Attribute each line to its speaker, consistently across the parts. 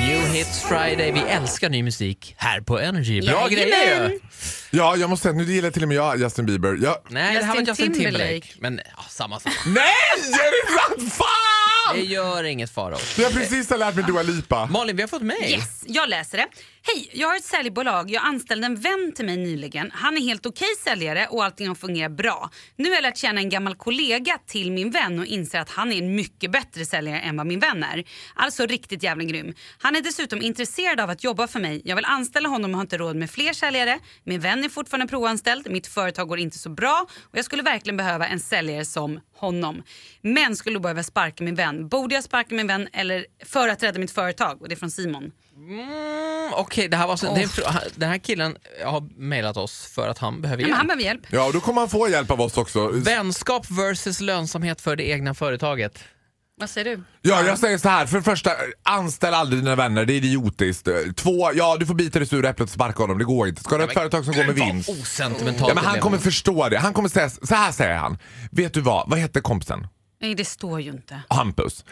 Speaker 1: New Hits Friday. Vi älskar ny musik här på Energy. Bra
Speaker 2: Jajamän.
Speaker 1: grejer ju!
Speaker 3: Ja, jag måste säga att nu gillar till och med jag Justin Bieber. Jag...
Speaker 1: Nej, det här var
Speaker 2: Justin
Speaker 1: Justin Timberlake.
Speaker 2: Timberlake.
Speaker 1: Men ja, samma sak.
Speaker 3: Nej, är det sant?
Speaker 1: Det
Speaker 3: Fan!
Speaker 1: gör inget fara.
Speaker 3: Jag har precis har lärt mig Dua Lipa.
Speaker 1: Malin, vi har fått mejl.
Speaker 2: Yes, jag läser det. Hej, jag har ett säljbolag. Jag anställde en vän till mig nyligen. Han är helt okej säljare och allting har fungerat bra. Nu har jag lärt känna en gammal kollega till min vän och inser att han är en mycket bättre säljare än vad min vän är. Alltså riktigt jävla grym. Han är dessutom intresserad av att jobba för mig. Jag vill anställa honom och har inte råd med fler säljare. Min vän är fortfarande provanställd. Mitt företag går inte så bra och jag skulle verkligen behöva en säljare som honom. Men skulle behöva sparka min vän. Borde jag sparka min vän eller för att rädda mitt företag? Och det är från Simon.
Speaker 1: Mm, Okej, det här var så, det, är fr- den här killen har mejlat oss för att han behöver
Speaker 2: Nej,
Speaker 1: hjälp.
Speaker 2: men han behöver hjälp.
Speaker 3: Ja, och då kommer han få hjälp av oss också.
Speaker 1: Vänskap versus lönsamhet för det egna företaget.
Speaker 2: Vad säger du?
Speaker 3: Ja, jag säger så här. För det första, anställ aldrig dina vänner. Det är idiotiskt. Två, ja, du får bita det sura äpplet och sparka honom. Det går inte. Ska du ha ett företag som går med vinst?
Speaker 1: Osentimentalt.
Speaker 3: Ja, men han kommer förstå det. Han kommer säga, så här säger han. Vet du vad? Vad heter kompisen?
Speaker 2: Nej, det står ju inte.
Speaker 3: Hampus,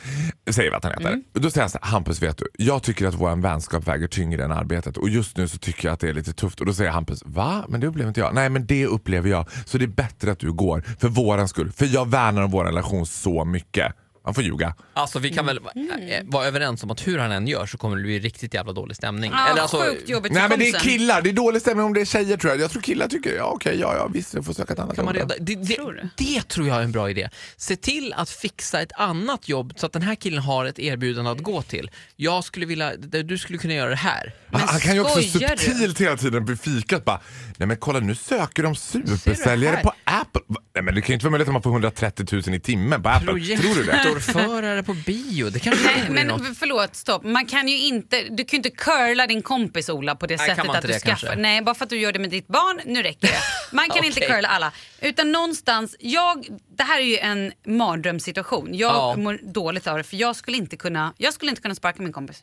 Speaker 3: säger vi att han heter.
Speaker 1: Mm.
Speaker 3: Då säger han så här, Hampus vet du, jag tycker att vår vänskap väger tyngre än arbetet och just nu så tycker jag att det är lite tufft. Och då säger Hampus, va? Men det upplever inte jag. Nej men det upplever jag. Så det är bättre att du går, för våran skull. För jag värnar om vår relation så mycket. Man får ljuga.
Speaker 1: Alltså vi kan väl
Speaker 2: Mm.
Speaker 1: eh, vara överens om att hur han än gör så kommer det bli riktigt jävla dålig stämning.
Speaker 2: Ah,
Speaker 1: alltså,
Speaker 2: sjukt jobbigt för
Speaker 3: Nej men det är
Speaker 2: kompisen.
Speaker 3: killar, det är dålig stämning om det är tjejer tror jag. Jag tror killar tycker, ja okej, ja, ja visst, jag får söka ett annat
Speaker 1: kan man
Speaker 3: jobb då.
Speaker 1: reda, det, det,
Speaker 2: Tror du?
Speaker 1: det tror jag är en bra idé. Se till att fixa ett annat jobb så att den här killen har ett erbjudande att gå till. Jag skulle vilja, du skulle kunna göra det här.
Speaker 3: Han, han kan ju också
Speaker 2: skojar du?
Speaker 3: subtilt hela tiden vid fikat bara, nej men kolla nu söker de supersäljare
Speaker 1: här?
Speaker 3: på Apple. Va? Nej men det kan ju inte vara möjligt att man får 130 000 i timmen på Apple. Tror du det?
Speaker 1: Projektorförare på bio, det kanske
Speaker 2: Nej,
Speaker 1: vore något.
Speaker 2: men förlåt, stopp. Man kan ju inte, du kan ju inte curla din kompis Ola på det
Speaker 1: Nej, kan
Speaker 2: sättet
Speaker 1: man
Speaker 2: att
Speaker 1: inte
Speaker 2: du
Speaker 1: det,
Speaker 2: skaffar...
Speaker 1: kanske?
Speaker 2: Nej, bara för att du gör det med ditt barn, nu räcker det. Man kan inte
Speaker 1: Okej.
Speaker 2: curla alla. Utan någonstans, jag, det här är ju en mardrömssituation. Jag
Speaker 1: Ja.
Speaker 2: mår dåligt av det för jag skulle inte kunna, jag skulle inte kunna sparka min kompis.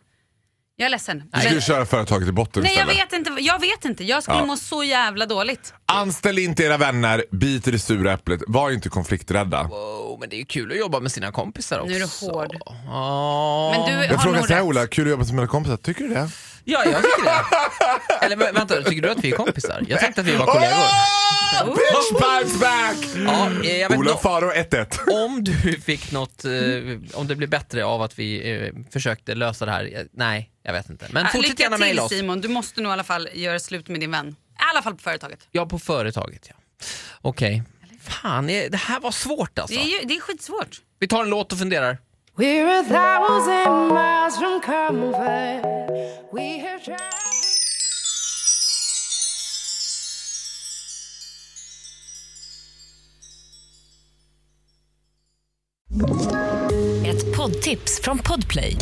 Speaker 2: Jag är ledsen.
Speaker 3: Du ska ju köra företaget i botten
Speaker 2: Nej jag
Speaker 3: istället.
Speaker 2: vet, inte, jag vet inte, jag skulle
Speaker 3: Ja.
Speaker 2: må så jävla dåligt.
Speaker 3: Anställ inte era vänner, bit i det sura äpplet, var inte konflikträdda.
Speaker 1: Wow, men det är ju kul att jobba med sina kompisar också.
Speaker 2: Nu är du hård.
Speaker 1: Ja.
Speaker 2: Men du
Speaker 3: Jag
Speaker 2: har
Speaker 3: frågar
Speaker 2: nog
Speaker 3: så här
Speaker 2: rätt.
Speaker 3: Ola, kul att jobba som mina kompisar, tycker du det?
Speaker 1: Ja, jag tycker det. Eller vä- vänta, tycker du att vi är kompisar? Jag tänkte att vi var kollegor.
Speaker 3: Oh! Bitch bites back!
Speaker 1: Ja, eh, jag vet
Speaker 3: Ola
Speaker 1: nå-
Speaker 3: Faro 1-1.
Speaker 1: om du fick något, eh, om det blev bättre av att vi eh, försökte lösa det här? eh, Nej, jag vet inte. Men
Speaker 2: Ah,
Speaker 1: fortsätt
Speaker 2: Lycka
Speaker 1: gärna
Speaker 2: till
Speaker 1: mejla oss.
Speaker 2: Simon, du måste nog i alla fall göra slut med din vän. I alla fall på företaget.
Speaker 1: Ja, på företaget ja. Okej. Fan, eh, det här var svårt alltså.
Speaker 2: Det är, ju, det är skitsvårt.
Speaker 1: Vi tar en låt och funderar.
Speaker 4: We're a thousand miles from comfort. We have tried.
Speaker 5: Ett poddtips från Podplay.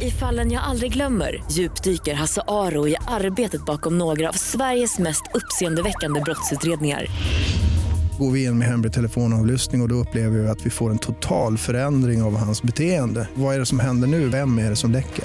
Speaker 5: I fallen jag aldrig glömmer djupdyker Hasse Aro i arbetet bakom några av Sveriges mest uppseendeväckande brottsutredningar.
Speaker 6: Går vi in med hemlig telefonavlyssning och, och då upplever vi att vi får en total förändring av hans beteende. Vad är det som händer nu? Vem är det som läcker?